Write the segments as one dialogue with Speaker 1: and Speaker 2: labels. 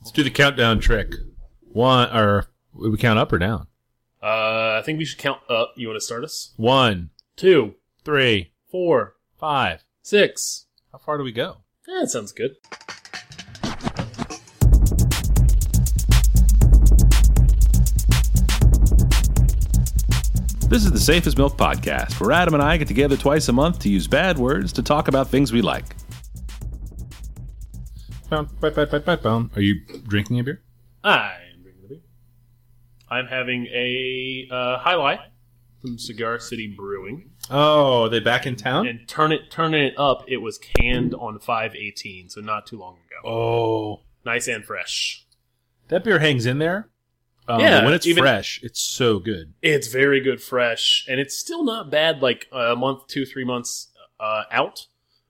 Speaker 1: Let's do the countdown trick. One, or would we count up or down?
Speaker 2: Uh, I think we should count up. You want to start us?
Speaker 1: One,
Speaker 2: Two,
Speaker 1: three,
Speaker 2: four,
Speaker 1: five.
Speaker 2: six.
Speaker 1: How far do we go?
Speaker 2: Eh, That sounds good.
Speaker 3: This is the Safest Milk Podcast, where Adam and I get together twice a month to use bad words to talk about things we like.
Speaker 1: Bum, bum, bum, bum, bum, bum. Are you drinking a beer?
Speaker 2: I'm drinking the beer. I'm having a uh, High Life from Cigar City Brewing.
Speaker 1: Oh, are they back in town?
Speaker 2: And turn it, turning it up, it was canned on 518, so not too long ago.
Speaker 1: oh,
Speaker 2: Nice and fresh.
Speaker 1: that beer hangs in there. Um,
Speaker 2: Yeah,
Speaker 1: but when it's
Speaker 2: even-
Speaker 1: fresh, it's so good.
Speaker 2: It's very good fresh, and it's still not bad. Like a month, two, three months uh, out,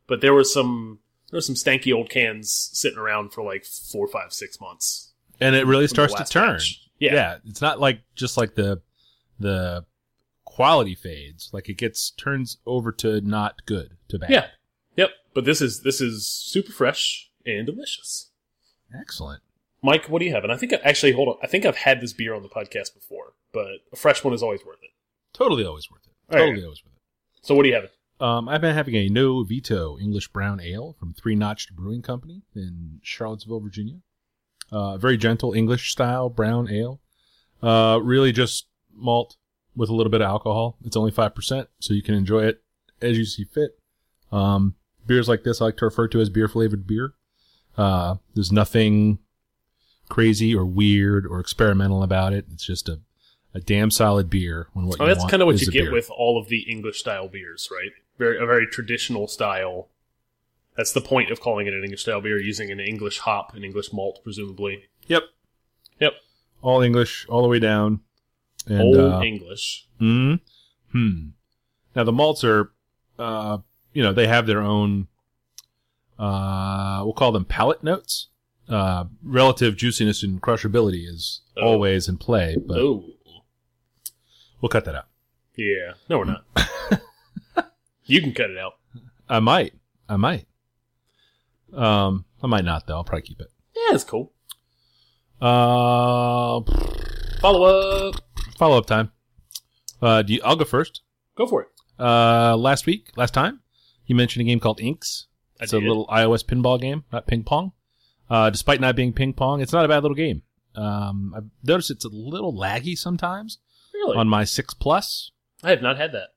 Speaker 2: but there were some there were some stanky old cans sitting around for like four, five, six months.
Speaker 1: and it really
Speaker 2: the
Speaker 1: starts to
Speaker 2: last
Speaker 1: turn.
Speaker 2: batch. Yeah.
Speaker 1: it's not like just like the the quality fades. Like it gets turns over to not good to bad.
Speaker 2: Yeah. Yep. But this is this is super fresh and delicious.
Speaker 1: excellent.
Speaker 2: Mike, what do you have? And I think I, actually, hold on. I think I've had this beer on the podcast before, but a fresh one is always worth it.
Speaker 1: Totally always worth it.
Speaker 2: All right.
Speaker 1: Totally always worth it.
Speaker 2: So what do you have?
Speaker 1: Um, I've been having a No Veto English Brown Ale from Three Notched Brewing Company in Charlottesville, Virginia. Uh, very gentle English style brown ale. Uh, really just malt with a little bit of alcohol. It's only 5%, so you can enjoy it as you see fit. Um, beers like this I like to refer to as beer flavored beer. Uh, there's nothing crazy or weird or experimental about it. It's just a, a damn solid beer. When what
Speaker 2: Oh,
Speaker 1: you
Speaker 2: that's
Speaker 1: want
Speaker 2: kind of what
Speaker 1: is
Speaker 2: you
Speaker 1: a
Speaker 2: get
Speaker 1: beer.
Speaker 2: with all of the English style beers, right? Very a very traditional style. That's the point of calling it an English style beer, using an English hop, an English malt, presumably.
Speaker 1: Yep.
Speaker 2: Yep.
Speaker 1: all English all the way down. And,
Speaker 2: Old
Speaker 1: uh,
Speaker 2: English.
Speaker 1: mm, hmm. Now the malts are, uh, you know, they have their own. Uh, we'll call them palate notes. Uh, relative juiciness and crushability is
Speaker 2: Oh.
Speaker 1: always in play, but
Speaker 2: Oh,
Speaker 1: we'll cut that out.
Speaker 2: yeah. No, we're not. you can cut it out.
Speaker 1: I might, I might, um, I might not though. I'll probably keep it.
Speaker 2: Yeah, it's cool.
Speaker 1: Uh,
Speaker 2: Follow up.
Speaker 1: follow up time. Uh, do you, I'll go first.
Speaker 2: Go for it.
Speaker 1: uh, last week, last time, you mentioned a game called Inks.
Speaker 2: I
Speaker 1: It's a
Speaker 2: did.
Speaker 1: little iOS pinball game, not ping pong. Uh, despite not being ping pong, it's not a bad little game. Um, I've noticed it's a little laggy sometimes
Speaker 2: Really?
Speaker 1: on my six plus,
Speaker 2: I have not had that.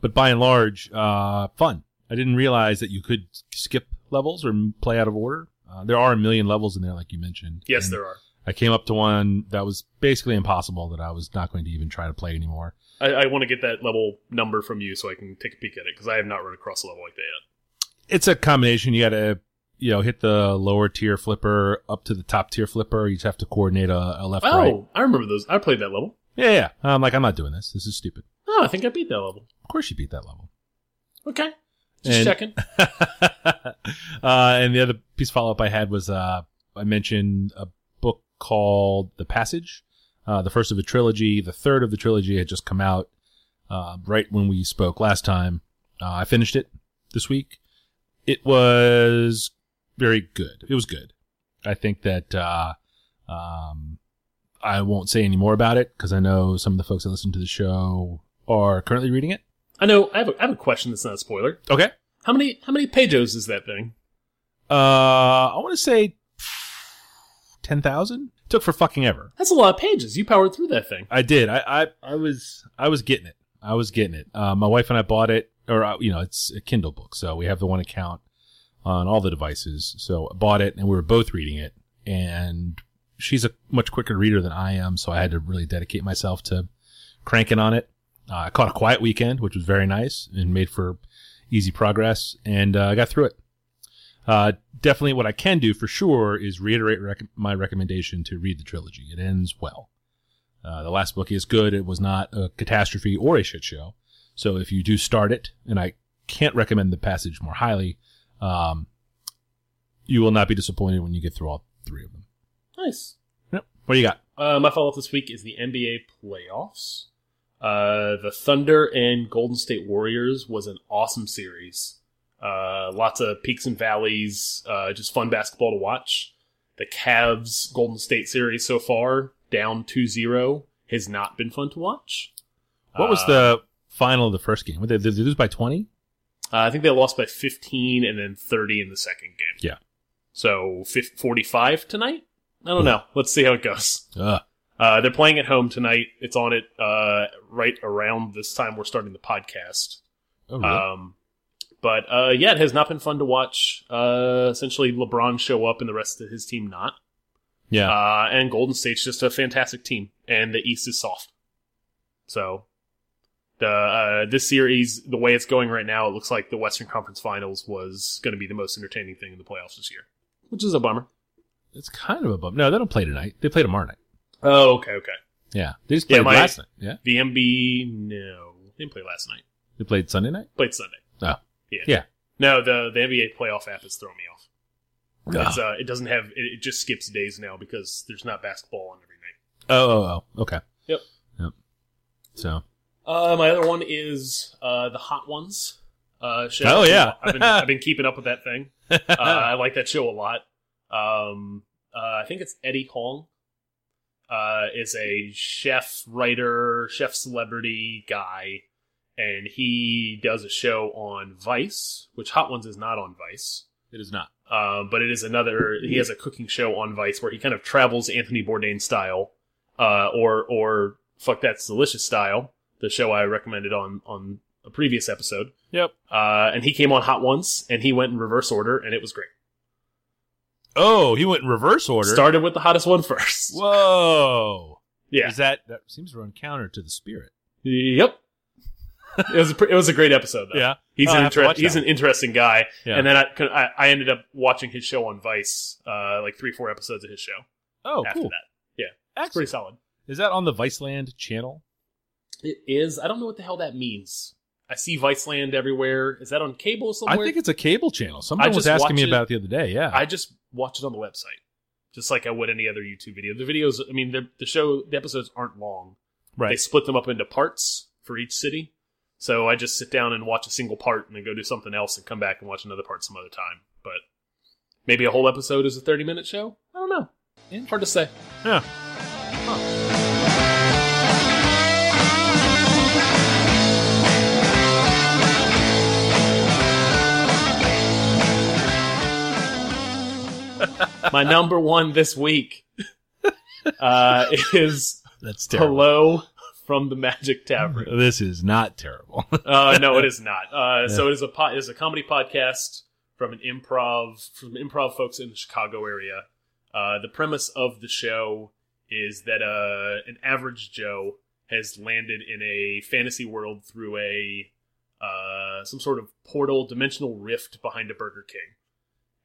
Speaker 1: but by and large, uh, fun. I didn't realize that you could skip levels or m- play out of order. Uh, there are a million levels in there, like you mentioned.
Speaker 2: Yes,
Speaker 1: And
Speaker 2: there are.
Speaker 1: I came up to one that was basically impossible that I was not going to even try to play anymore.
Speaker 2: I, I want to get that level number from you so I can take a peek at it because I have not run across a level like that yet.
Speaker 1: it's a combination. You got to, you know, hit the lower tier flipper up to the top tier flipper. You just have to coordinate a, a left
Speaker 2: Oh,
Speaker 1: right.
Speaker 2: I remember those. I played that level.
Speaker 1: Yeah, yeah. I'm like, I'm not doing this. This is stupid.
Speaker 2: Oh, I think I beat that level.
Speaker 1: Of course, you beat that level.
Speaker 2: Okay. Just
Speaker 1: And-
Speaker 2: checking.
Speaker 1: uh, and the other piece of follow up I had was uh, I mentioned a book called The Passage, uh, the first of a trilogy. The third of the trilogy had just come out uh, right when we spoke last time. Uh, I finished it this week. It was very good. It was good. I think that uh, um, I won't say any more about it because I know some of the folks that listen to the show are currently reading it.
Speaker 2: I know. I have, a, I have a question that's not a spoiler.
Speaker 1: Okay.
Speaker 2: How many how many pages is that thing?
Speaker 1: Uh, I want to say ten thousand. Took for fucking ever.
Speaker 2: That's a lot of pages. You powered through that thing.
Speaker 1: I did. I, I I was I was getting it. I was getting it. Uh, my wife and I bought it, or uh, you know, it's a Kindle book, so we have the one account on all the devices. So I bought it, and we were both reading it. And she's a much quicker reader than I am, so I had to really dedicate myself to cranking on it. Uh, I caught a quiet weekend, which was very nice and made for easy progress, and uh, I got through it. Uh, definitely, what I can do for sure is reiterate rec- my recommendation to read the trilogy. It ends well. Uh, the last book is good. It was not a catastrophe or a shit show. So if you do start it, and I can't recommend the passage more highly, um, you will not be disappointed when you get through all three of them.
Speaker 2: Nice.
Speaker 1: Yep. What do you got?
Speaker 2: Uh, my follow up this week is the NBA playoffs. Uh, the Thunder and Golden State Warriors was an awesome series. Uh, lots of peaks and valleys, uh, just fun basketball to watch. the Cavs Golden State series so far, down 2-0, has not been fun to watch.
Speaker 1: What was
Speaker 2: Uh,
Speaker 1: the final of the first game? What, Did did they lose by 20?
Speaker 2: Uh, I think they lost by 15 and then 30 in the second game.
Speaker 1: Yeah.
Speaker 2: So fif 45 tonight? I don't know. Let's see how it goes.
Speaker 1: Ugh.
Speaker 2: Uh, they're playing at home tonight. It's on it uh, right around this time we're starting the podcast.
Speaker 1: Oh, really?
Speaker 2: Um, but uh, yeah, it has not been fun to watch. Uh, essentially, LeBron show up and the rest of his team not.
Speaker 1: yeah.
Speaker 2: Uh, and Golden State's just a fantastic team, and the East is soft. So the uh, this series, the way it's going right now, it looks like the Western Conference Finals was going to be the most entertaining thing in the playoffs this year, which is a bummer.
Speaker 1: it's kind of a bummer. No, they don't play tonight. They play tomorrow night.
Speaker 2: Oh, okay, okay.
Speaker 1: Yeah. They just
Speaker 2: Yeah,
Speaker 1: played
Speaker 2: my-
Speaker 1: last night. Yeah.
Speaker 2: The MB, no, didn't play last night.
Speaker 1: They played Sunday night?
Speaker 2: Played Sunday.
Speaker 1: Oh.
Speaker 2: Yeah.
Speaker 1: Yeah.
Speaker 2: No, the the NBA playoff app is throwing me off. It's,
Speaker 1: Ugh.
Speaker 2: uh, it doesn't have. It, it just skips days now because there's not basketball on every night.
Speaker 1: Oh, oh, oh. Okay.
Speaker 2: Yep.
Speaker 1: Yep. So,
Speaker 2: Uh, my other one is uh, the Hot Ones. Uh, show.
Speaker 1: Oh, yeah.
Speaker 2: I've been, I've been keeping up with that thing. Uh, I like that show a lot. Um, uh, I think it's Eddie Hong. Uh, is a chef writer, chef celebrity guy, and he does a show on Vice, which Hot Ones is not on Vice.
Speaker 1: it is not.
Speaker 2: Uh, but it is another. He has a cooking show on Vice where he kind of travels Anthony Bourdain style, uh, or or fuck that's delicious style. The show I recommended on on a previous episode.
Speaker 1: Yep.
Speaker 2: Uh, and he came on Hot Once, and he went in reverse order, and it was great.
Speaker 1: Oh, he went in reverse order.
Speaker 2: Started with the hottest one first.
Speaker 1: Whoa.
Speaker 2: Yeah.
Speaker 1: Is that that seems to run counter to the spirit?
Speaker 2: Yep. it was a, pre- it was a great episode. Though. He's
Speaker 1: Oh, I
Speaker 2: an
Speaker 1: have to
Speaker 2: inter-
Speaker 1: watch that
Speaker 2: he's an interesting guy.
Speaker 1: Yeah.
Speaker 2: And then I, 'cause I I ended up watching his show on Vice, uh, like three four episodes of his show
Speaker 1: Oh,
Speaker 2: after
Speaker 1: cool.
Speaker 2: that. It's
Speaker 1: Excellent.
Speaker 2: pretty solid.
Speaker 1: Is that on the Viceland channel?
Speaker 2: It is. I don't know what the hell that means. I see Viceland everywhere. Is that on cable somewhere?
Speaker 1: I think it's a cable channel. Someone was
Speaker 2: just
Speaker 1: asking
Speaker 2: watch
Speaker 1: me
Speaker 2: it-
Speaker 1: about it the other day. Yeah.
Speaker 2: I just watch it on the website, just like I would any other YouTube video. The videos, I mean, the, the show, the episodes aren't long. They
Speaker 1: right.
Speaker 2: split them up into parts for each city. So I just sit down and watch a single part, and then go do something else, and come back and watch another part some other time. But maybe a whole episode is a thirty-minute show. I don't know. Eh, Hard to say.
Speaker 1: Yeah.
Speaker 2: My number one this week uh, is
Speaker 1: That's terrible.
Speaker 2: Hello from the Magic Tavern.
Speaker 1: This is not terrible.
Speaker 2: Uh, no, it is not. Uh, So it is a po- it is a comedy podcast from an improv from improv folks in the Chicago area. Uh, the premise of the show is that uh, an average Joe has landed in a fantasy world through a uh, some sort of portal dimensional rift behind a Burger King.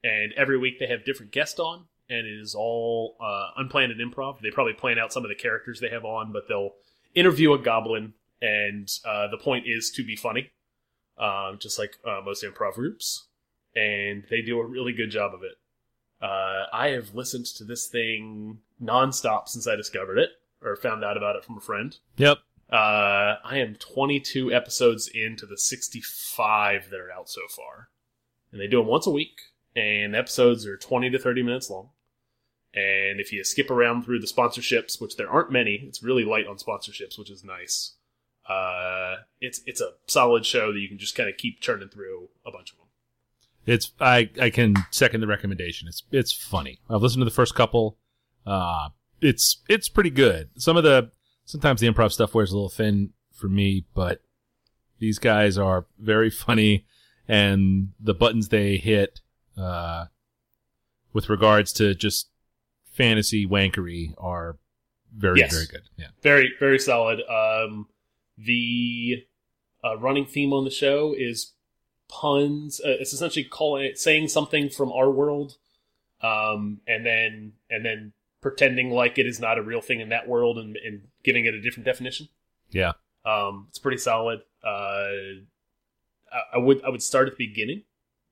Speaker 2: And every week they have different guests on, and it is all uh, unplanned and improv. They probably plan out some of the characters they have on, but they'll interview a goblin, and uh, the point is to be funny, um, just like uh, most improv groups. And they do a really good job of it. Uh, I have listened to this thing nonstop since I discovered it or found out about it from a friend.
Speaker 1: yep.
Speaker 2: Uh, I am 22 episodes into the 65 that are out so far, and they do them once a week, and episodes are 20 to 30 minutes long. And if you skip around through the sponsorships, which there aren't many, it's really light on sponsorships, which is nice. Uh, it's it's a solid show that you can just kind of keep churning through a bunch of them.
Speaker 1: It's I I can second the recommendation. It's it's funny. I've listened to the first couple. Uh it's it's pretty good. Some of the sometimes the improv stuff wears a little thin for me, but these guys are very funny and the buttons they hit uh with regards to just fantasy wankery are very
Speaker 2: Yes.
Speaker 1: very good. Yeah.
Speaker 2: very very solid um the uh, running theme on the show is puns uh, it's essentially calling it saying something from our world um and then and then pretending like it is not a real thing in that world and, and giving it a different definition
Speaker 1: Yeah.
Speaker 2: um it's pretty solid uh I, I would i would start at the beginning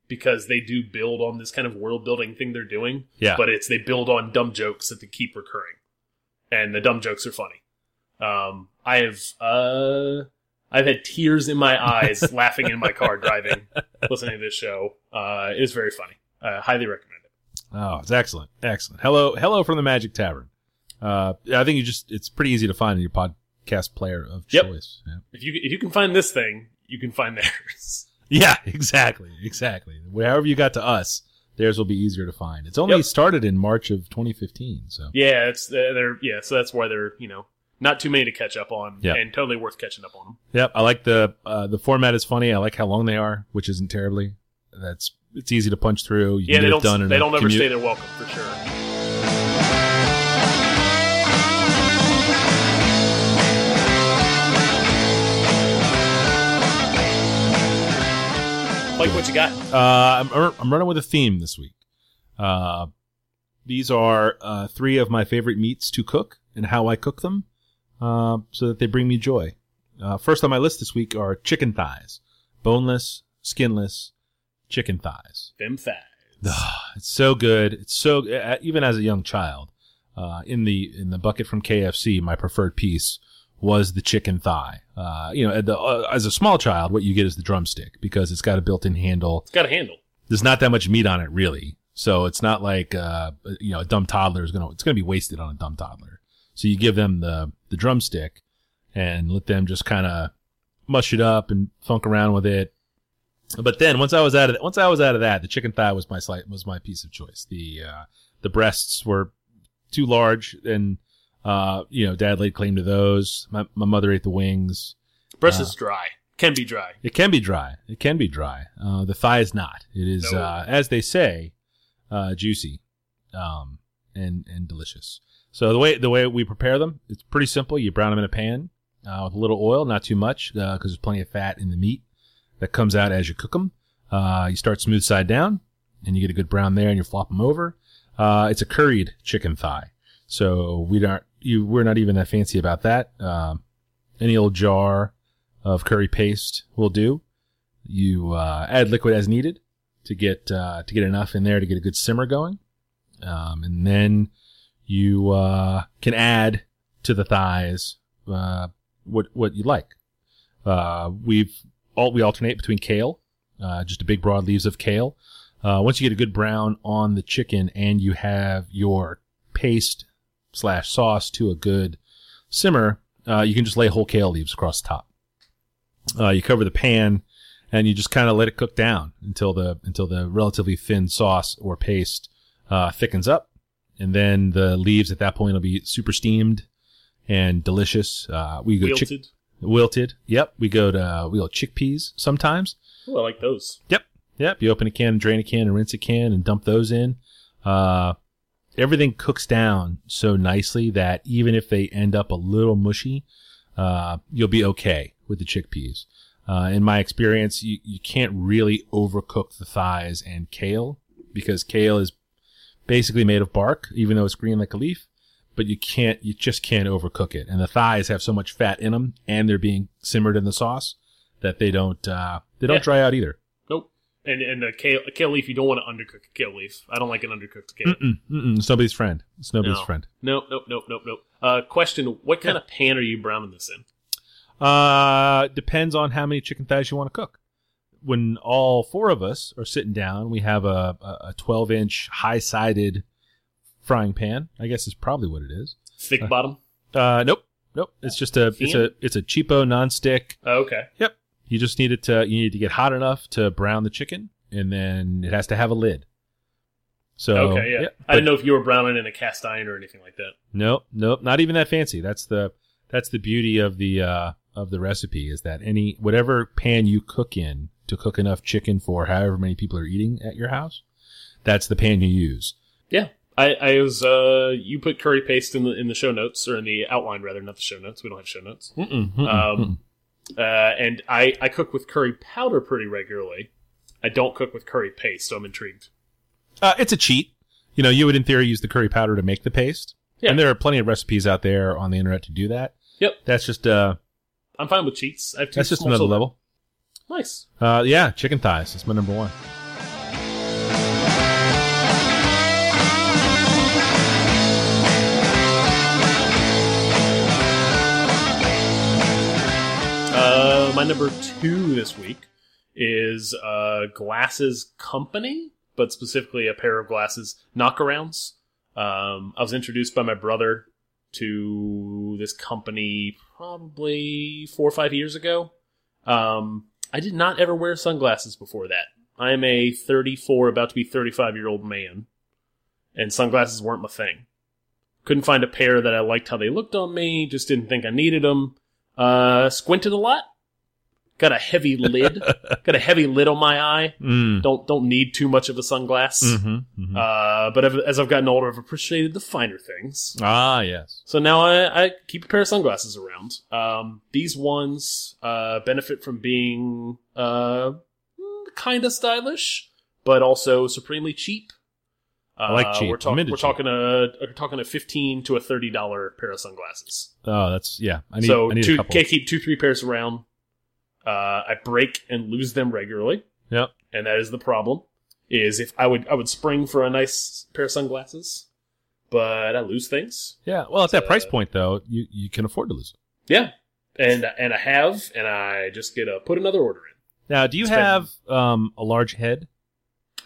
Speaker 2: because they do build on this kind of world building thing they're doing
Speaker 1: Yeah.
Speaker 2: but it's they build on dumb jokes that they keep recurring, and the dumb jokes are funny. Um, I have uh, I've had tears in my eyes laughing in my car driving, listening to this show. Uh, it is very funny. I highly recommend it.
Speaker 1: Oh, it's excellent, excellent. Hello, hello from the Magic Tavern. Uh, I think you just—it's pretty easy to find in your podcast player of
Speaker 2: Yep.
Speaker 1: choice. Yeah.
Speaker 2: If you if you can find this thing, you can find theirs.
Speaker 1: Yeah, exactly, exactly. However you got to us, theirs will be easier to find. It's only
Speaker 2: Yep.
Speaker 1: started in March of 2015, so
Speaker 2: Yeah, it's they're they're- yeah, so that's why they're you know not too many to catch up on,
Speaker 1: Yeah.
Speaker 2: and totally worth catching up on them.
Speaker 1: yep. I like the uh, the format is funny. I like how long they are, which isn't terribly. That's it's easy to punch through. You
Speaker 2: Yeah,
Speaker 1: can
Speaker 2: they
Speaker 1: get
Speaker 2: don't
Speaker 1: it done. in
Speaker 2: they
Speaker 1: a
Speaker 2: don't
Speaker 1: commute.
Speaker 2: overstay their welcome for sure. Like what you got?
Speaker 1: Uh, I'm, I'm- I'm running with a theme this week. Uh, these are uh, three of my favorite meats to cook and how I cook them uh, so that they bring me joy. Uh, first on my list this week are chicken thighs, boneless, skinless chicken thighs.
Speaker 2: Them thighs.
Speaker 1: It's so good. It's so uh, even as a young child, uh, in the in the bucket from KFC, my preferred piece was the chicken thigh. Uh, you know, at the, uh, as a small child, what you get is the drumstick because it's got a built-in handle
Speaker 2: It's got a handle.
Speaker 1: there's not that much meat on it really. So it's not like uh you know a dumb toddler is gonna it's gonna be wasted on a dumb toddler. So you give them the the drumstick and let them just kind of mush it up and funk around with it. But then once I was out of once I was out of that, the chicken thigh was my slight was my piece of choice. The uh, the breasts were too large and uh you know dad laid claim to those. My my mother ate the wings.
Speaker 2: Breast is dry. Can be dry.
Speaker 1: It can be dry. It can be dry. Uh, the thigh is not. It is,
Speaker 2: No.
Speaker 1: uh, as they say, uh, juicy, um, and and delicious. So the way the way we prepare them, it's pretty simple. You brown them in a pan uh, with a little oil, not too much, because there's plenty of fat in the meat that comes out as you cook them. Uh, you start smooth side down, and you get a good brown there, and you flop them over. Uh, it's a curried chicken thigh, so we don't you we're not even that fancy about that. Um, any old jar of curry paste will do. You uh, add liquid as needed to get uh, to get enough in there to get a good simmer going, um, and then you uh, can add to the thighs uh, what what you like. Uh, we've all we alternate between kale, uh, just a big broad leaves of kale. Uh, once you get a good brown on the chicken and you have your paste slash sauce to a good simmer, uh, you can just lay whole kale leaves across the top uh, you cover the pan and you just kind of let it cook down until the until the relatively thin sauce or paste uh, thickens up and then the leaves at that point will be super steamed and delicious uh, we go chick-
Speaker 2: Wilted.
Speaker 1: wilted yep we go to uh, we go chickpeas sometimes
Speaker 2: Oh, I like those.
Speaker 1: Yep. Yep. You open a can, drain a can, and rinse a can, and dump those in. Uh, everything cooks down so nicely that even if they end up a little mushy, uh, you'll be okay with the chickpeas. Uh, in my experience, you, you can't really overcook the thighs and kale because kale is basically made of bark, even though it's green like a leaf. But you can't, you just can't overcook it. And the thighs have so much fat in them, and they're being simmered in the sauce that they don't, uh, they don't
Speaker 2: Yeah.
Speaker 1: dry out either.
Speaker 2: Nope. And and a kale, a kale leaf, you don't want to undercook a kale leaf. I don't like an undercooked kale.
Speaker 1: Mm-mm, mm-mm. It's nobody's friend. It's nobody's
Speaker 2: No.
Speaker 1: friend.
Speaker 2: Nope, nope, nope, nope, nope. Uh, question: What kind of pan are you browning this in?
Speaker 1: Uh, depends on how many chicken thighs you want to cook. When all four of us are sitting down, we have a, a, a 12 inch high sided frying pan. I guess is probably what it is.
Speaker 2: Thick bottom.
Speaker 1: Uh, nope. Nope. It's just a, it's a, it's a cheapo nonstick.
Speaker 2: Oh, okay.
Speaker 1: Yep. You just need it to, you need to get hot enough to brown the chicken and then it has to have a lid. So,
Speaker 2: okay, yeah.
Speaker 1: yep.
Speaker 2: I didn't know if you were browning in a cast iron or anything like that.
Speaker 1: Nope, nope, not even that fancy. That's the that's the beauty of the uh, of the recipe is that any whatever pan you cook in to cook enough chicken for however many people are eating at your house, that's the pan you use.
Speaker 2: Yeah. I, I was uh you put curry paste in the in the show notes or in the outline rather, not the show notes. We don't have show notes.
Speaker 1: Mm-mm,
Speaker 2: Um uh and I, I cook with curry powder pretty regularly. I don't cook with curry paste, so I'm intrigued.
Speaker 1: Uh, it's a cheat. You know, you would in theory use the curry powder to make the paste,
Speaker 2: Yeah.
Speaker 1: and there are plenty of recipes out there on the internet to do that.
Speaker 2: Yep.
Speaker 1: That's just uh,
Speaker 2: I'm fine with cheats. I have two
Speaker 1: that's just
Speaker 2: small
Speaker 1: another
Speaker 2: children.
Speaker 1: level.
Speaker 2: Nice.
Speaker 1: Uh, yeah, chicken thighs. That's my number one.
Speaker 2: Uh, my number two this week is uh, Glasses Company but specifically a pair of glasses, knockarounds. Um, I was introduced by my brother to this company probably four or five years ago. Um, I did not ever wear sunglasses before that. I am a 34, about to be 35 year old man, and sunglasses weren't my thing. Couldn't find a pair that I liked how they looked on me, just didn't think I needed them. Uh, squinted a lot. Got a heavy lid. Got a heavy lid on my eye.
Speaker 1: Mm.
Speaker 2: Don't don't need too much of a sunglass.
Speaker 1: Mhm, mhm.
Speaker 2: Uh, but I've, as I've gotten older, I've appreciated the finer things.
Speaker 1: ah, yes.
Speaker 2: So now I, I keep a pair of sunglasses around. Um, these ones uh, benefit from being uh, kind of stylish, but also supremely cheap. Uh,
Speaker 1: I like cheap.
Speaker 2: We're, talk
Speaker 1: I'm into
Speaker 2: we're
Speaker 1: cheap.
Speaker 2: talking a we're talking a fifteen to a thirty dollar pair of sunglasses.
Speaker 1: Oh, that's yeah. I need.
Speaker 2: so
Speaker 1: I need
Speaker 2: two,
Speaker 1: a couple.
Speaker 2: can't keep two three pairs around. Uh, I break and lose them regularly
Speaker 1: Yep.
Speaker 2: and that is the problem. Is if I would I would spring for a nice pair of sunglasses, but I lose things.
Speaker 1: Yeah. Well, at that price point though, you you can afford to lose. it.
Speaker 2: Yeah, and and I have, and I just get to put another order in.
Speaker 1: Now, do you
Speaker 2: Spend-
Speaker 1: have um a large head?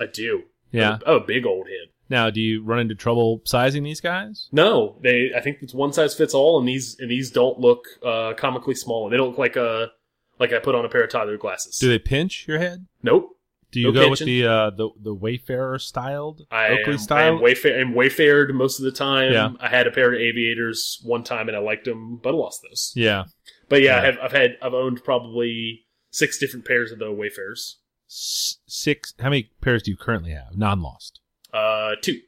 Speaker 2: I do.
Speaker 1: Yeah.
Speaker 2: Oh, big old head.
Speaker 1: Now, do you run into trouble sizing these guys?
Speaker 2: No, they. I think it's one size fits all, and these and these don't look uh, comically small. They don't look like a like I put on a pair of toddler glasses.
Speaker 1: Do they pinch your head?
Speaker 2: Nope.
Speaker 1: Do you
Speaker 2: No
Speaker 1: go with
Speaker 2: pinching.
Speaker 1: the uh the the Wayfarer styled
Speaker 2: I
Speaker 1: Oakley
Speaker 2: am, I
Speaker 1: style?
Speaker 2: am wayfa- I'm wayfared most of the time.
Speaker 1: Yeah.
Speaker 2: I had a pair of aviators one time, and I liked them, but I lost those.
Speaker 1: yeah.
Speaker 2: But yeah,
Speaker 1: Yeah.
Speaker 2: I've, I've had I've owned probably six different pairs of the Wayfarers.
Speaker 1: S- six. How many pairs do you currently have? Non lost.
Speaker 2: Uh, two.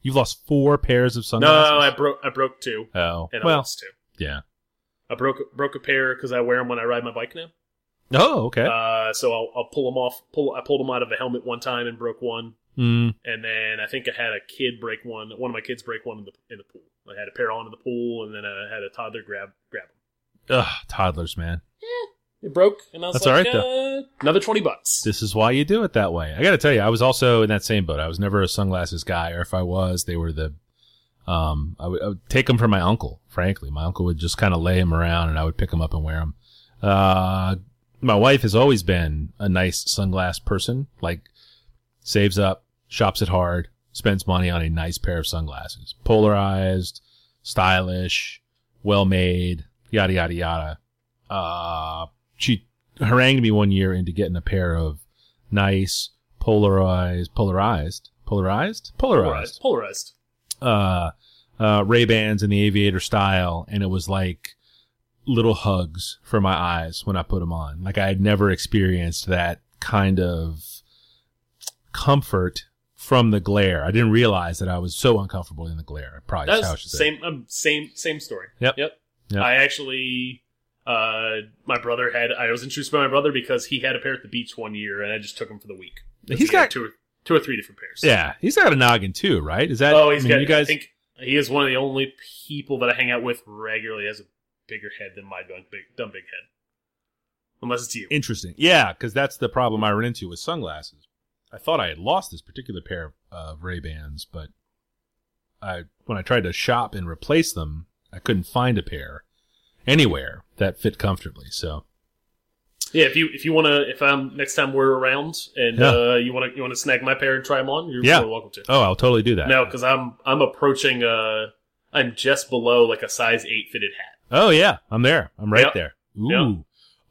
Speaker 1: You've lost four pairs of
Speaker 2: No, I
Speaker 1: sunglasses.
Speaker 2: broke I broke two,
Speaker 1: No, oh
Speaker 2: and I
Speaker 1: well,
Speaker 2: lost two.
Speaker 1: yeah.
Speaker 2: I broke broke a pair because I wear them when I ride my bike now.
Speaker 1: Oh, okay.
Speaker 2: Uh, so I'll, I'll pull them off. Pull I pulled them out of a helmet one time and broke one,
Speaker 1: mm,
Speaker 2: and then I think I had a kid break one. One of my kids break one in the in the pool. I had a pair on in the pool, and then I had a toddler grab grab them.
Speaker 1: ugh, toddlers, man.
Speaker 2: It broke, and I was
Speaker 1: That's
Speaker 2: like,
Speaker 1: alright,
Speaker 2: uh, another twenty bucks.
Speaker 1: This is why you do it that way. I got to tell you, I was also in that same boat. I was never a sunglasses guy, or if I was, they were the. Um, I would, I would take them from my uncle. Frankly, my uncle would just kind of lay them around, and I would pick them up and wear them. Uh, my wife has always been a nice sunglass person. Like, saves up, shops it hard, spends money on a nice pair of sunglasses. Polarized, stylish, well made, yada yada yada. Uh, she harangued me one year into getting a pair of nice polarized, polarized, polarized, polarized,
Speaker 2: polarized. Polarized.
Speaker 1: uh, uh, Ray Bans in the aviator style, and it was like little hugs for my eyes when I put them on. Like I had never experienced that kind of comfort from the glare. I didn't realize that I was so uncomfortable in the glare. Probably that's how I
Speaker 2: That's
Speaker 1: should say. it.
Speaker 2: same um, same same story.
Speaker 1: Yep.
Speaker 2: Yep.
Speaker 1: Yep.
Speaker 2: I actually uh my brother had I was introduced by my brother because he had a pair at the beach one year and I just took him for the week. 'Cause
Speaker 1: He's
Speaker 2: he had
Speaker 1: got-
Speaker 2: two or two or three different pairs.
Speaker 1: Yeah, he's got a noggin too, right? Is that?
Speaker 2: Oh, he's
Speaker 1: I mean,
Speaker 2: got
Speaker 1: you guys.
Speaker 2: I think he is one of the only people that I hang out with regularly has a bigger head than my dumb big dumb big head. Unless it's you.
Speaker 1: Interesting. Yeah, because that's the problem I run into with sunglasses. I thought I had lost this particular pair of Ray Bans, but I when I tried to shop and replace them, I couldn't find a pair anywhere that fit comfortably. So
Speaker 2: Yeah, if you if you want to if I'm next time we're around and
Speaker 1: Yeah.
Speaker 2: uh you want to you want to snag my pair and try them on, you're
Speaker 1: Yeah.
Speaker 2: more than welcome to.
Speaker 1: oh, I'll totally do that.
Speaker 2: No, because I'm I'm approaching uh I'm just below like a size eight fitted hat.
Speaker 1: Oh yeah, I'm there. I'm right
Speaker 2: Yep.
Speaker 1: there. Ooh.
Speaker 2: Yep.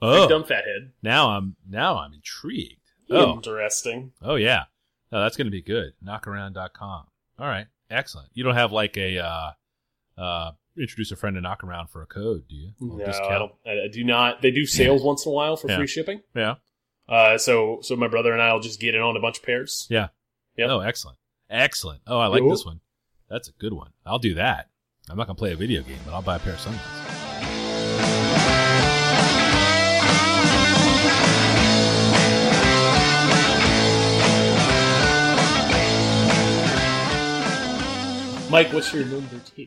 Speaker 1: Oh,
Speaker 2: Big dumb fat head.
Speaker 1: now I'm now I'm intrigued. Oh,
Speaker 2: Interesting.
Speaker 1: oh yeah. No, that's gonna be good. Knockaround.com. All right, excellent. You don't have like a uh, uh, introduce a friend to knock around for a code, do you? Or
Speaker 2: No,
Speaker 1: discount?
Speaker 2: I don't. I I do not. They do sales once in a while for
Speaker 1: Yeah.
Speaker 2: free shipping.
Speaker 1: Yeah.
Speaker 2: Uh, so so my brother and I'll just get it on a bunch of pairs.
Speaker 1: Yeah.
Speaker 2: Yep.
Speaker 1: Oh, excellent. Excellent. Oh, I like
Speaker 2: Cool.
Speaker 1: this one. That's a good one. I'll do that. I'm not going to play a video game, but I'll buy a pair of sunglasses.
Speaker 2: Mike, what's your number two?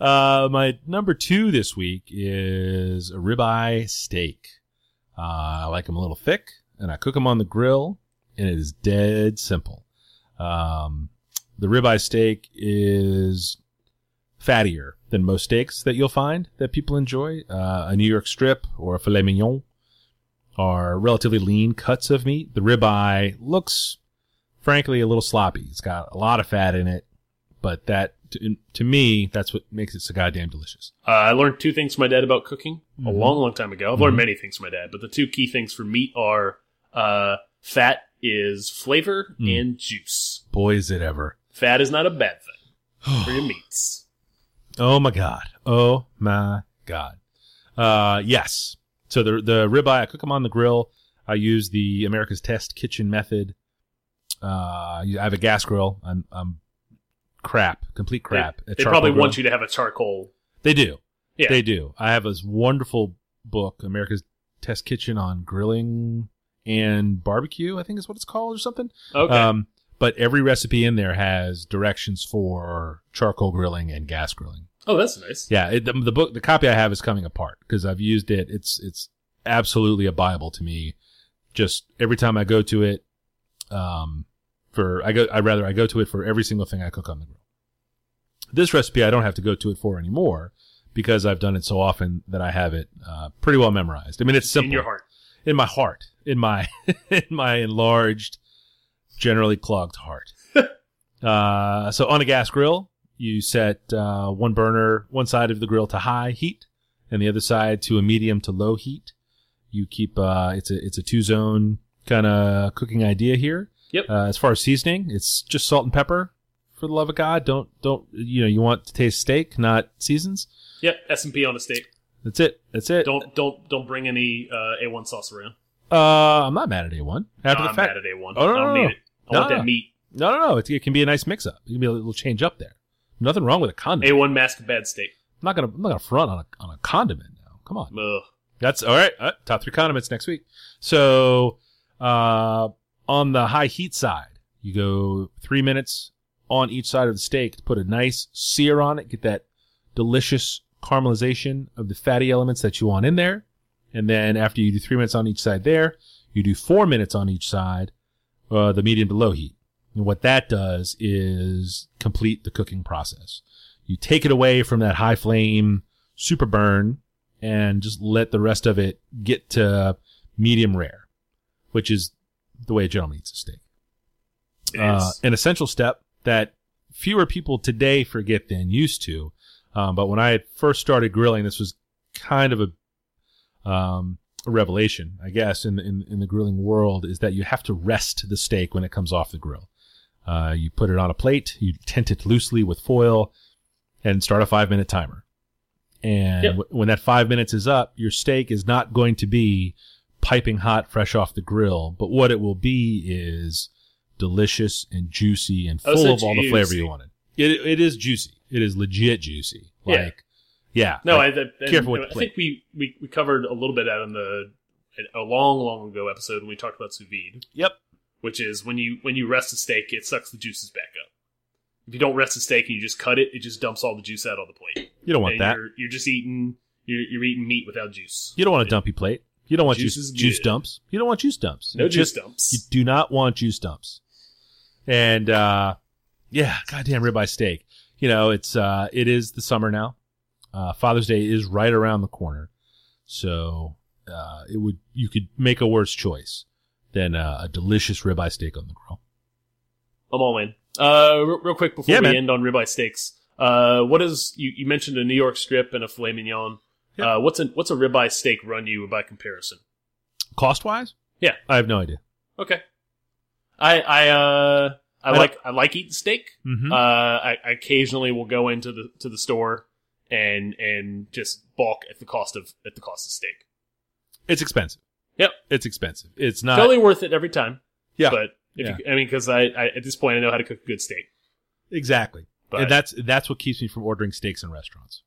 Speaker 1: Uh, my number two this week is a ribeye steak. Uh, I like them a little thick, and I cook them on the grill, and it is dead simple. Um, the ribeye steak is fattier than most steaks that you'll find that people enjoy. Uh, a New York strip or a filet mignon are relatively lean cuts of meat. The ribeye looks frankly a little sloppy. It's got a lot of fat in it, but that to, to me that's what makes it so goddamn delicious.
Speaker 2: Uh, I learned two things from my dad about cooking a
Speaker 1: Mhm.
Speaker 2: long, long time ago. I've learned many things from my dad, but the two key things for meat are uh, fat is flavor
Speaker 1: Mm.
Speaker 2: and juice.
Speaker 1: Boy, is it ever!
Speaker 2: Fat is not a bad thing for your meats.
Speaker 1: Oh my god! Oh my god! Uh, yes. So the the ribeye, I cook them on the grill. I use the America's Test kitchen method. Uh, I have a gas grill. I'm I'm crap, complete crap.
Speaker 2: They, they probably want you to have a charcoal.
Speaker 1: They do.
Speaker 2: Yeah.
Speaker 1: They do. I have this wonderful book, America's Test Kitchen on grilling and barbecue. I think is what it's called or something.
Speaker 2: Okay.
Speaker 1: Um, but every recipe in there has directions for charcoal grilling and gas grilling.
Speaker 2: oh, that's nice.
Speaker 1: Yeah, it, the, the book, the copy I have is coming apart because I've used it. It's it's absolutely a bible to me. Just every time I go to it, um, for I go, I rather I go to it for every single thing I cook on the grill. This recipe I don't have to go to it for anymore because I've done it so often that I have it uh, pretty well memorized. I mean, it's simple
Speaker 2: In your heart.
Speaker 1: in my heart, in my in my enlarged, generally clogged heart. uh, so on a gas grill, you set uh, one burner, one side of the grill to high heat, and the other side to a medium to low heat. You keep uh, it's a it's a two zone kind of cooking idea here.
Speaker 2: Yep.
Speaker 1: Uh, as far as seasoning, it's just salt and pepper. For the love of God, don't don't you know you want to taste steak, not seasons.
Speaker 2: Yep. S and P on a steak.
Speaker 1: That's it. That's it.
Speaker 2: Don't don't don't bring any uh, A1 sauce around.
Speaker 1: Uh, I'm not mad at anyone. After
Speaker 2: No,
Speaker 1: the
Speaker 2: I'm
Speaker 1: fact,
Speaker 2: mad at A1.
Speaker 1: Oh, no,
Speaker 2: I don't
Speaker 1: no,
Speaker 2: need
Speaker 1: no.
Speaker 2: it. I
Speaker 1: No,
Speaker 2: want
Speaker 1: no.
Speaker 2: that meat.
Speaker 1: No, no, no. It's, it can be a nice mix up. It can be a little change up there. Nothing wrong with a condiment.
Speaker 2: A1 mask bad steak.
Speaker 1: I'm not gonna, I'm not gonna front on a, on a condiment now. Come on.
Speaker 2: Ugh.
Speaker 1: That's all right. Uh, top three condiments next week. So, uh, on the high heat side, you go three minutes on each side of the steak to put a nice sear on it. Get that delicious caramelization of the fatty elements that you want in there. And then after you do three minutes on each side there, you do four minutes on each side, uh, the medium to low heat. And what that does is complete the cooking process. You take it away from that high flame super burn and just let the rest of it get to medium rare, which is the way a gentleman eats a steak.
Speaker 2: It
Speaker 1: Uh,
Speaker 2: is.
Speaker 1: an essential step that fewer people today forget than used to. Um, but when I had first started grilling, this was kind of a, um, a revelation, I guess, in, the- in, in the grilling world is that you have to rest the steak when it comes off the grill. Uh, you put it on a plate, you tent it loosely with foil, and start a five minute timer. And
Speaker 2: Yep.
Speaker 1: w- when that five minutes is up, your steak is not going to be piping hot, fresh off the grill. But what it will be is delicious and juicy and
Speaker 2: Oh,
Speaker 1: full
Speaker 2: so
Speaker 1: of all the flavor
Speaker 2: juicy.
Speaker 1: you wanted. It, it is juicy. It is legit juicy.
Speaker 2: Yeah.
Speaker 1: Like, yeah.
Speaker 2: No,
Speaker 1: like,
Speaker 2: I, I,
Speaker 1: careful with
Speaker 2: I
Speaker 1: the
Speaker 2: think we, we, we covered a little bit out in the a long long ago episode when we talked about sous vide,
Speaker 1: yep.
Speaker 2: which is when you when you rest a steak, it sucks the juices back up. If you don't rest a steak and you just cut it, it just dumps all the juice out on the plate.
Speaker 1: You don't want
Speaker 2: And
Speaker 1: that.
Speaker 2: You're, you're just eating you're, you're eating meat without juice.
Speaker 1: You don't want a dumpy plate. You don't want
Speaker 2: Juice
Speaker 1: juice
Speaker 2: is
Speaker 1: juice,
Speaker 2: good.
Speaker 1: dumps. You don't want juice dumps.
Speaker 2: No
Speaker 1: You
Speaker 2: juice
Speaker 1: just-
Speaker 2: dumps.
Speaker 1: You do not want juice dumps. And uh yeah, goddamn ribeye steak. You know, it's uh it is the summer now. Uh Father's Day is right around the corner. So uh it would you could make a worse choice than uh, a delicious ribeye steak on the grill.
Speaker 2: I'm all in. Uh, real, real quick before
Speaker 1: Yeah,
Speaker 2: we
Speaker 1: man.
Speaker 2: end on ribeye steaks, uh, what is you, you mentioned a New York strip and a filet mignon?
Speaker 1: Yeah.
Speaker 2: Uh, what's a what's a ribeye steak run you by comparison?
Speaker 1: Cost wise?
Speaker 2: Yeah.
Speaker 1: I have no idea.
Speaker 2: Okay. I I uh I,
Speaker 1: I
Speaker 2: like I like eating steak.
Speaker 1: Mm-hmm.
Speaker 2: Uh, I, I occasionally will go into the to the store and and just balk at the cost of at the cost of steak.
Speaker 1: it's expensive.
Speaker 2: Yep.
Speaker 1: It's expensive. It's
Speaker 2: It's
Speaker 1: not
Speaker 2: totally worth it every time.
Speaker 1: Uh, Yeah.
Speaker 2: But if you, I mean, because I, I at this point I know how to cook good steak.
Speaker 1: Exactly.
Speaker 2: But-
Speaker 1: and that's that's what keeps me from ordering steaks in restaurants.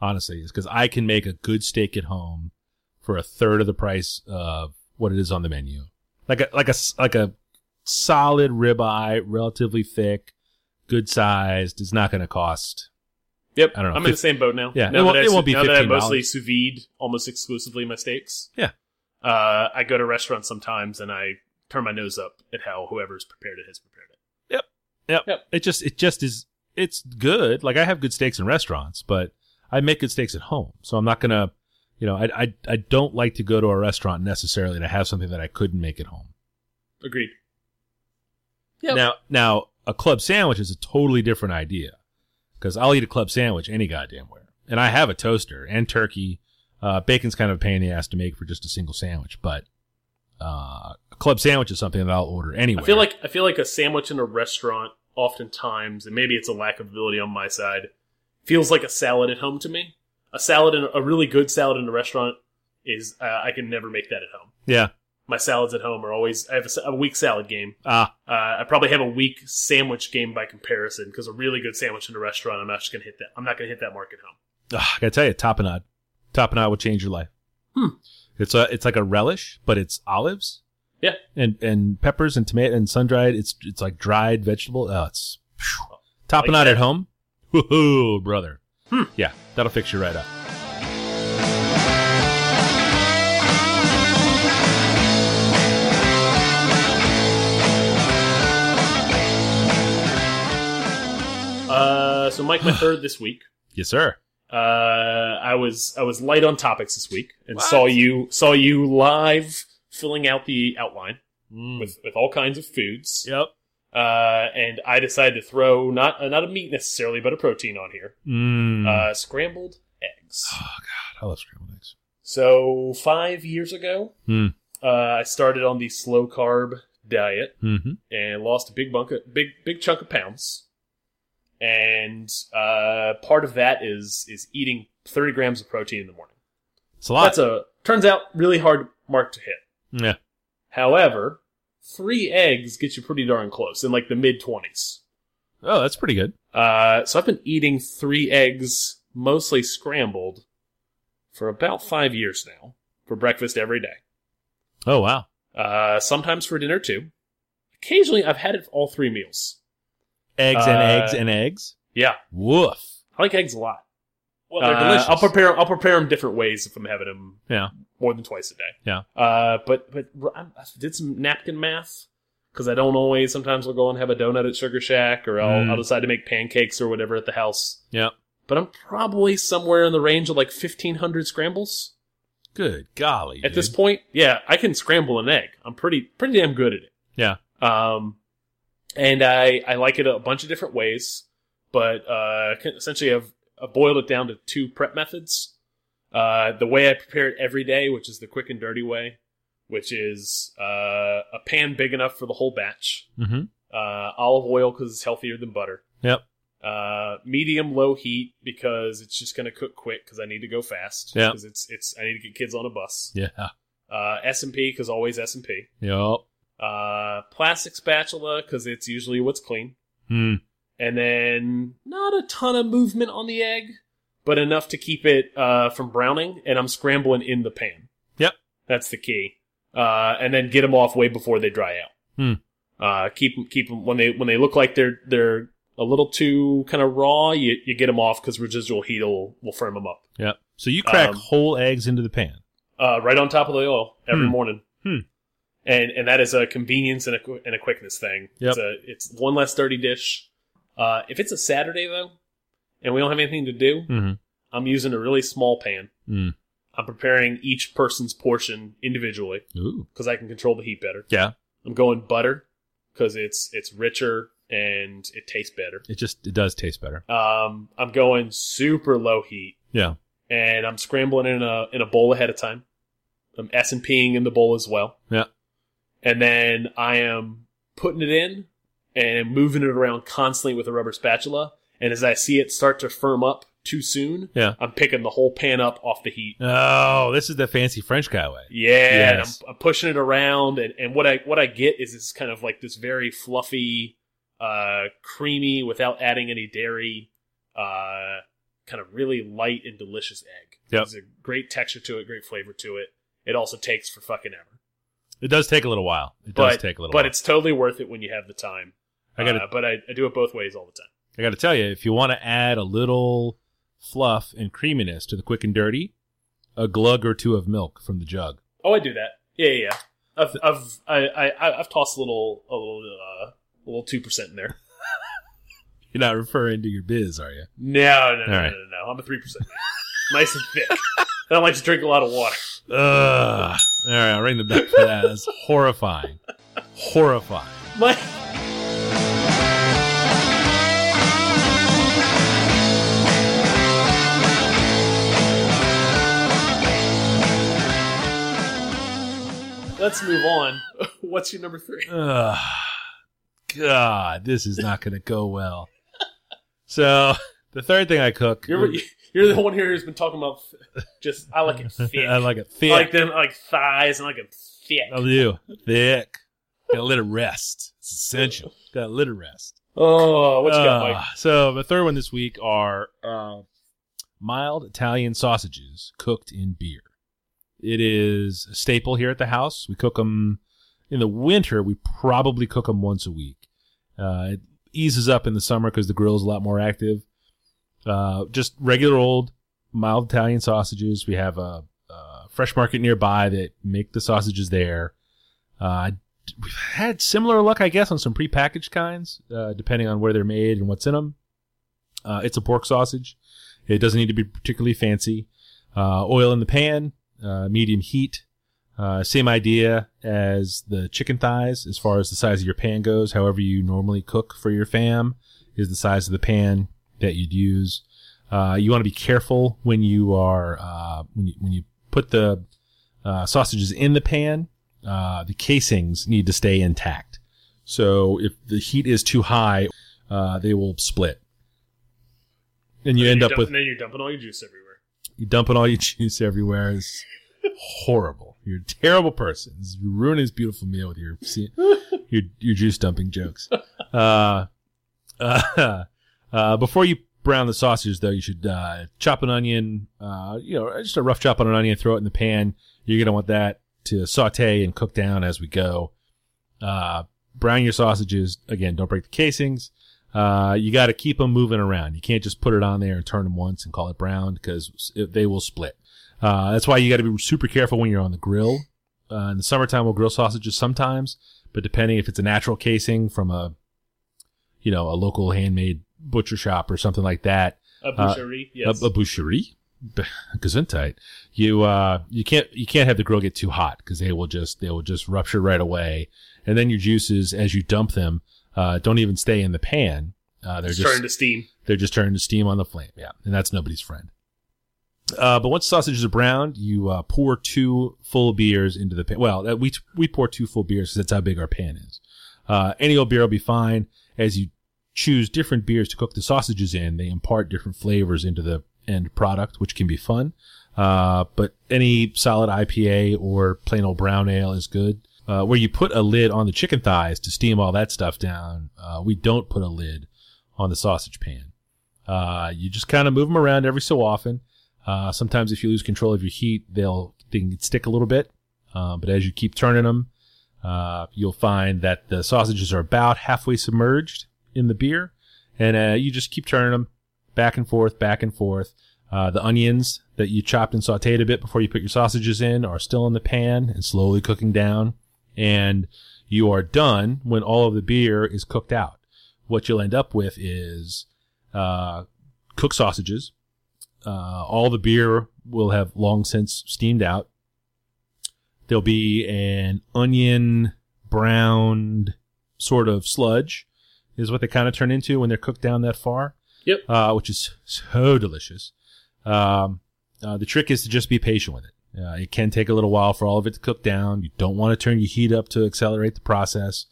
Speaker 1: Honestly, is because I can make a good steak at home for a third of the price of what it is on the menu. Like a like a s- like a solid ribeye, relatively thick, good sized, is not going to cost.
Speaker 2: Yep.
Speaker 1: I don't know,
Speaker 2: I'm in the
Speaker 1: fif-
Speaker 2: same boat now.
Speaker 1: Yeah,
Speaker 2: Now
Speaker 1: it won't-
Speaker 2: that I
Speaker 1: it
Speaker 2: sous-
Speaker 1: won't be
Speaker 2: now that I
Speaker 1: $15.
Speaker 2: mostly sous vide almost exclusively my steaks.
Speaker 1: Yeah.
Speaker 2: Uh, I go to restaurants sometimes and I turn my nose up at how whoever's prepared it has prepared it.
Speaker 1: It just it just is. It's good. Like I have good steaks in restaurants, but I make good steaks at home, so I'm not gonna. You know, I I I don't like to go to a restaurant necessarily to have something that I couldn't make at home.
Speaker 2: Agreed. Yep.
Speaker 1: Now, now a club sandwich is a totally different idea because I'll eat a club sandwich any goddamn where, and I have a toaster and turkey. Uh, bacon's kind of a pain in the ass to make for just a single sandwich, but uh, a club sandwich is something that I'll order anyway.
Speaker 2: I feel like I feel like a sandwich in a restaurant oftentimes, and maybe it's a lack of ability on my side, feels like a salad at home to me. A salad in a really good salad in a restaurant is uh, I can never make that at home.
Speaker 1: yeah,
Speaker 2: My salads at home are always I have a s- a, weak salad game.
Speaker 1: ah,
Speaker 2: Uh, I probably have a weak sandwich game by comparison because a really good sandwich in a restaurant, I'm not just gonna hit that. I'm not gonna hit that mark at home.
Speaker 1: ugh, ah, I gotta tell you, tapenade, tapenade will change your life.
Speaker 2: Hmm.
Speaker 1: It's a, it's like a relish, but it's olives,
Speaker 2: Yeah.
Speaker 1: and and peppers and tomato and sun dried. It's it's like dried vegetable. Oh, it's phew. tapenade
Speaker 2: that.
Speaker 1: at home. Woohoo, brother.
Speaker 2: Hmm.
Speaker 1: Yeah, that'll fix you right up.
Speaker 2: Uh, so Mike, my third this week.
Speaker 1: Yes, sir.
Speaker 2: Uh, I was I was light on topics this week and
Speaker 1: What?
Speaker 2: saw you saw you live filling out the outline with with all kinds of foods.
Speaker 1: Yep.
Speaker 2: Uh, and I decided to throw not uh, not a meat necessarily, but a protein on here.
Speaker 1: Mm. Oh,
Speaker 2: Uh, scrambled eggs.
Speaker 1: I love scrambled eggs.
Speaker 2: So five years ago,
Speaker 1: Hmm.
Speaker 2: uh, I started on the slow carb diet
Speaker 1: Mm-hmm.
Speaker 2: and lost a big bunk of, big big chunk of pounds. And uh, part of that is is eating thirty grams of protein in the morning.
Speaker 1: It's a lot.
Speaker 2: That's a turns out really hard mark to hit.
Speaker 1: yeah.
Speaker 2: However, three eggs get you pretty darn close in like the mid twenties.
Speaker 1: Oh, that's pretty good.
Speaker 2: Uh, so I've been eating three eggs, mostly scrambled, for about five years now for breakfast every day.
Speaker 1: Oh wow.
Speaker 2: Uh, sometimes for dinner too. Occasionally, I've had it for all three meals.
Speaker 1: Eggs and
Speaker 2: Uh,
Speaker 1: eggs and eggs.
Speaker 2: Yeah,
Speaker 1: Woof.
Speaker 2: I like eggs a lot.
Speaker 1: Well, they're
Speaker 2: Uh,
Speaker 1: delicious.
Speaker 2: I'll prepare. I'll prepare them different ways if I'm having them
Speaker 1: yeah.
Speaker 2: more than twice a day.
Speaker 1: Yeah.
Speaker 2: Uh, but but r- I'm- I did some napkin math because I don't always. Sometimes I'll go and have a donut at Sugar Shack, or I'll,
Speaker 1: Mm.
Speaker 2: I'll decide to make pancakes or whatever at the house.
Speaker 1: Yeah.
Speaker 2: But I'm probably somewhere in the range of like 1,500 scrambles
Speaker 1: Good golly.
Speaker 2: at this
Speaker 1: dude.
Speaker 2: point. Yeah, I can scramble an egg. I'm pretty pretty damn good at it.
Speaker 1: Yeah.
Speaker 2: Um, and I I like it a bunch of different ways, but uh, can- essentially I've, I've boiled it down to two prep methods. Uh, the way I prepare it every day, which is the quick and dirty way, which is uh, a pan big enough for the whole batch,
Speaker 1: Mm-hmm.
Speaker 2: uh, olive oil because it's healthier than butter.
Speaker 1: Yep.
Speaker 2: Uh, medium low heat because it's just gonna cook quick because I need to go fast.
Speaker 1: Yeah.
Speaker 2: Because it's it's I need to get kids on a bus
Speaker 1: Yeah.
Speaker 2: uh, S and P because always S and P.
Speaker 1: Yep.
Speaker 2: Uh, plastic spatula because it's usually what's clean.
Speaker 1: Hmm.
Speaker 2: And then not a ton of movement on the egg, but enough to keep it uh, from browning. And I'm scrambling in the pan.
Speaker 1: Yep.
Speaker 2: that's the key. Uh, and then get them off way before they dry out.
Speaker 1: Hmm.
Speaker 2: Uh, keep them keep them when they when they look like they're they're a little too kind of raw. You you get them off because residual heat will will firm them up.
Speaker 1: Yep. So you crack
Speaker 2: Um,
Speaker 1: whole eggs into the pan.
Speaker 2: uh, right on top of the oil every
Speaker 1: Hmm.
Speaker 2: morning.
Speaker 1: Hmm.
Speaker 2: And and that is a convenience and a qu- and a quickness thing.
Speaker 1: Yep.
Speaker 2: It's a it's one less dirty dish. Uh, if it's a Saturday though, and we don't have anything to do,
Speaker 1: Mm-hmm.
Speaker 2: I'm using a really small pan.
Speaker 1: Mm.
Speaker 2: I'm preparing each person's portion individually
Speaker 1: Ooh.
Speaker 2: because I can control the heat better.
Speaker 1: Yeah.
Speaker 2: I'm going butter because it's it's richer and it tastes better.
Speaker 1: It just it does taste better.
Speaker 2: Um, I'm going super low heat
Speaker 1: Yeah.
Speaker 2: and I'm scrambling in a in a bowl ahead of time. I'm S and Ping in the bowl as well.
Speaker 1: Yeah.
Speaker 2: And then I am putting it in and moving it around constantly with a rubber spatula. And as I see it start to firm up too soon,
Speaker 1: Yeah.
Speaker 2: I'm picking the whole pan up off the heat.
Speaker 1: Oh, this is the fancy French guy way.
Speaker 2: Yeah, and
Speaker 1: Yes.
Speaker 2: I'm, I'm pushing it around, and, and what I what I get is this kind of like this very fluffy, uh, creamy without adding any dairy, uh, kind of really light and delicious egg.
Speaker 1: Yep.
Speaker 2: There's a great texture to it, great flavor to it. It also takes for fucking ever,
Speaker 1: It does take a little while. It does
Speaker 2: but
Speaker 1: take a little.
Speaker 2: but
Speaker 1: while.
Speaker 2: it's totally worth it when you have the time.
Speaker 1: I gotta
Speaker 2: Uh, but I, I do it both ways all the time.
Speaker 1: I got to tell you, if you want to add a little fluff and creaminess to the quick and dirty, a glug or two of milk from the jug.
Speaker 2: Oh, I do that. Yeah, yeah. yeah. I've I've I, I I've tossed a little a little uh, a little two percent in there.
Speaker 1: You're not referring to your biz, are you?
Speaker 2: No, no, no,
Speaker 1: right.
Speaker 2: no, no, no. I'm a three percent. nice and thick. And I like to drink a lot of water.
Speaker 1: Ugh. All right, I'll ring the bell for that. That's horrifying. Horrifying.
Speaker 2: My let's move on. What's your number three?
Speaker 1: Ugh, God, this is not going to go well. So the third thing I cook,
Speaker 2: You're you're the one here who's been talking about f- just I like it thick.
Speaker 1: I like it
Speaker 2: I
Speaker 1: thick.
Speaker 2: like them I like thighs and I like it thick.
Speaker 1: I do thick. Gotta let it rest. It's essential. Gotta let it rest.
Speaker 2: Oh, what you got,
Speaker 1: Uh,
Speaker 2: Mike?
Speaker 1: So the third one this week are uh, mild Italian sausages cooked in beer. It is a staple here at the house. We cook them in the winter. We probably cook them once a week. Uh, it eases up in the summer because the grill is a lot more active. Uh, just regular old mild Italian sausages. We have a, a fresh market nearby that make the sausages there. Uh, I we've had similar luck, I guess, on some prepackaged kinds, uh, depending on where they're made and what's in them. Uh, it's a pork sausage. It doesn't need to be particularly fancy. Uh, oil in the pan, uh, medium heat. Uh, same idea as the chicken thighs, as far as the size of your pan goes. However, you normally cook for your fam is the size of the pan that you'd use. Uh, you want to be careful when you are uh, when you, when you put the uh, sausages in the pan uh, the casings need to stay intact. So if the heat is too high, uh, they will split. And you
Speaker 2: Then
Speaker 1: end
Speaker 2: you're
Speaker 1: up
Speaker 2: dump-
Speaker 1: with
Speaker 2: then you're dumping all your juice everywhere.
Speaker 1: you dumping all your juice everywhere. It's horrible. You're a terrible person. It's ruining this beautiful meal with your your your juice dumping jokes. Uh, uh, uh, before you brown the sausage, though, you should uh, chop an onion. Uh, you know, just a rough chop on an onion. Throw it in the pan. You're gonna want that to saute and cook down as we go. Uh, brown your sausages again. Don't break the casings. Uh, you got to keep them moving around. You can't just put it on there and turn them once and call it brown because they will split. Uh, that's why you got to be super careful when you're on the grill. Uh, in the summertime, we'll grill sausages sometimes, but depending if it's a natural casing from a, you know, a local handmade butcher shop or something like that,
Speaker 2: A
Speaker 1: Uh,
Speaker 2: boucherie, yes.
Speaker 1: a, a boucherie, B- gesundheit. You uh, you can't you can't have the grill get too hot because they will just they will just rupture right away, and then your juices as you dump them uh, don't even stay in the pan. Uh, they're
Speaker 2: it's
Speaker 1: just
Speaker 2: turned to steam.
Speaker 1: they're just turning to steam on the flame. Yeah, and that's nobody's friend. Uh, but once sausages are browned, you uh, pour two full beers into the pan. Well, that we we pour two full beers because that's how big our pan is. Uh, any old beer will be fine. As you choose different beers to cook the sausages in, they impart different flavors into the end product, which can be fun. Uh, but any solid IPA or plain old brown ale is good. Uh, where you put a lid on the chicken thighs to steam all that stuff down, uh, we don't put a lid on the sausage pan. Uh, you just kind of move them around every so often. Uh, sometimes if you lose control of your heat, they'll they can stick a little bit. Uh, but as you keep turning them, uh, you'll find that the sausages are about halfway submerged in the beer, and uh, you just keep turning them back and forth, back and forth. Uh, the onions that you chopped and sautéed a bit before you put your sausages in are still in the pan and slowly cooking down, and you are done when all of the beer is cooked out. What you'll end up with is uh, cook sausages. Uh, all the beer will have long since steamed out. There'll be an onion browned sort of sludge, is what they kind of turn into when they're cooked down that far.
Speaker 2: Yep.
Speaker 1: Uh, which is so delicious. Um, uh, the trick is to just be patient with it. Uh, it can take a little while for all of it to cook down. You don't want to turn your heat up to accelerate the process.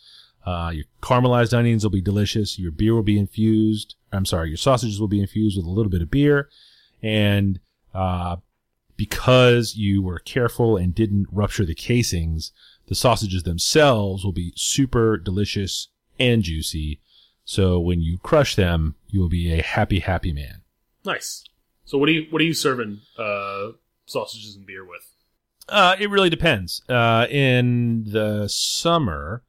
Speaker 1: Uh, your caramelized onions will be delicious. Your beer will be infused. I'm sorry, your sausages will be infused with a little bit of beer. And uh, because you were careful and didn't rupture the casings, the sausages themselves will be super delicious and juicy. So when you crush them, you will be a happy, happy man.
Speaker 2: Nice. So what are you what are you serving uh, sausages and beer with?
Speaker 1: Uh, it really depends. Uh, in the summer,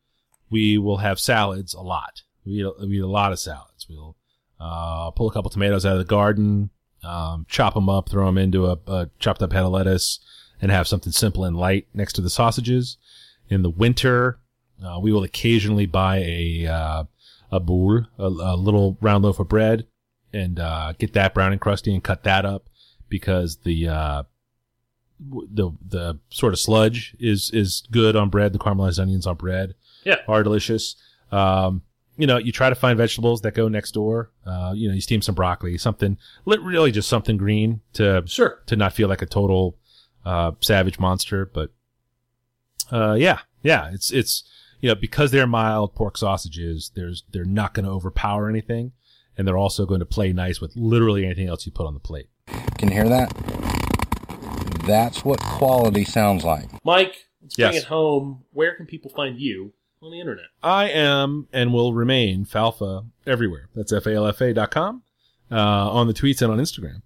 Speaker 1: we will have salads a lot. We eat a, we eat a lot of salads. We'll uh, pull a couple tomatoes out of the garden, um, chop them up, throw them into a, a chopped up head of lettuce, and have something simple and light next to the sausages. In the winter, uh, we will occasionally buy a uh, a boule, a, a little round loaf of bread, and uh, get that brown and crusty and cut that up because the uh, w- the the sort of sludge is is good on bread. The caramelized onions on bread
Speaker 2: Yeah.
Speaker 1: are delicious. Um, you know, you try to find vegetables that go next door. Uh, you know, you steam some broccoli, something li- really just something green to
Speaker 2: Sure.
Speaker 1: to not feel like a total uh, savage monster. But Uh, yeah, yeah. It's it's you know because they're mild pork sausages. There's they're not going to overpower anything, and they're also going to play nice with literally anything else you put on the plate.
Speaker 4: Can you hear that? That's what quality sounds like.
Speaker 2: Mike, let's bring
Speaker 1: Yes.
Speaker 2: it home. Where can people find you on the internet?
Speaker 1: I am and will remain Falfa everywhere. That's F A L F A dot com, uh, on the tweets and on Instagram.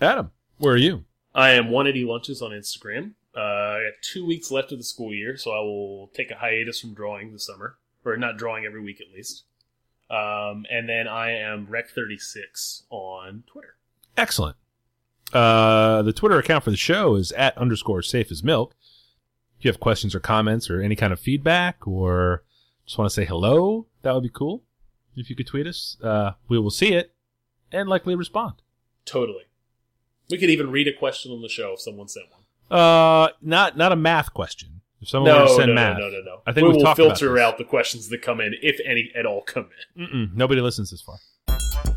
Speaker 1: Adam, where are you?
Speaker 2: I am 180 Lunches on Instagram. Uh, I got two weeks left of the school year, so I will take a hiatus from drawing this summer, or not drawing every week at least. Um, and then I am Rec36 on Twitter.
Speaker 1: Excellent. Uh, the Twitter account for the show is at underscore safe as milk. If you have questions or comments or any kind of feedback or just want to say hello, that would be cool. If you could tweet us, uh, we will see it and likely respond.
Speaker 2: Totally. We could even read a question on the show if someone sent one.
Speaker 1: Uh, not not a math question. If someone
Speaker 2: no,
Speaker 1: wants to send
Speaker 2: no,
Speaker 1: math,
Speaker 2: no, no, no, no.
Speaker 1: I think
Speaker 2: we
Speaker 1: we've
Speaker 2: will
Speaker 1: talked about
Speaker 2: filter
Speaker 1: this.
Speaker 2: out the questions that come in, if any at all come in.
Speaker 1: Mm-mm, nobody listens this far.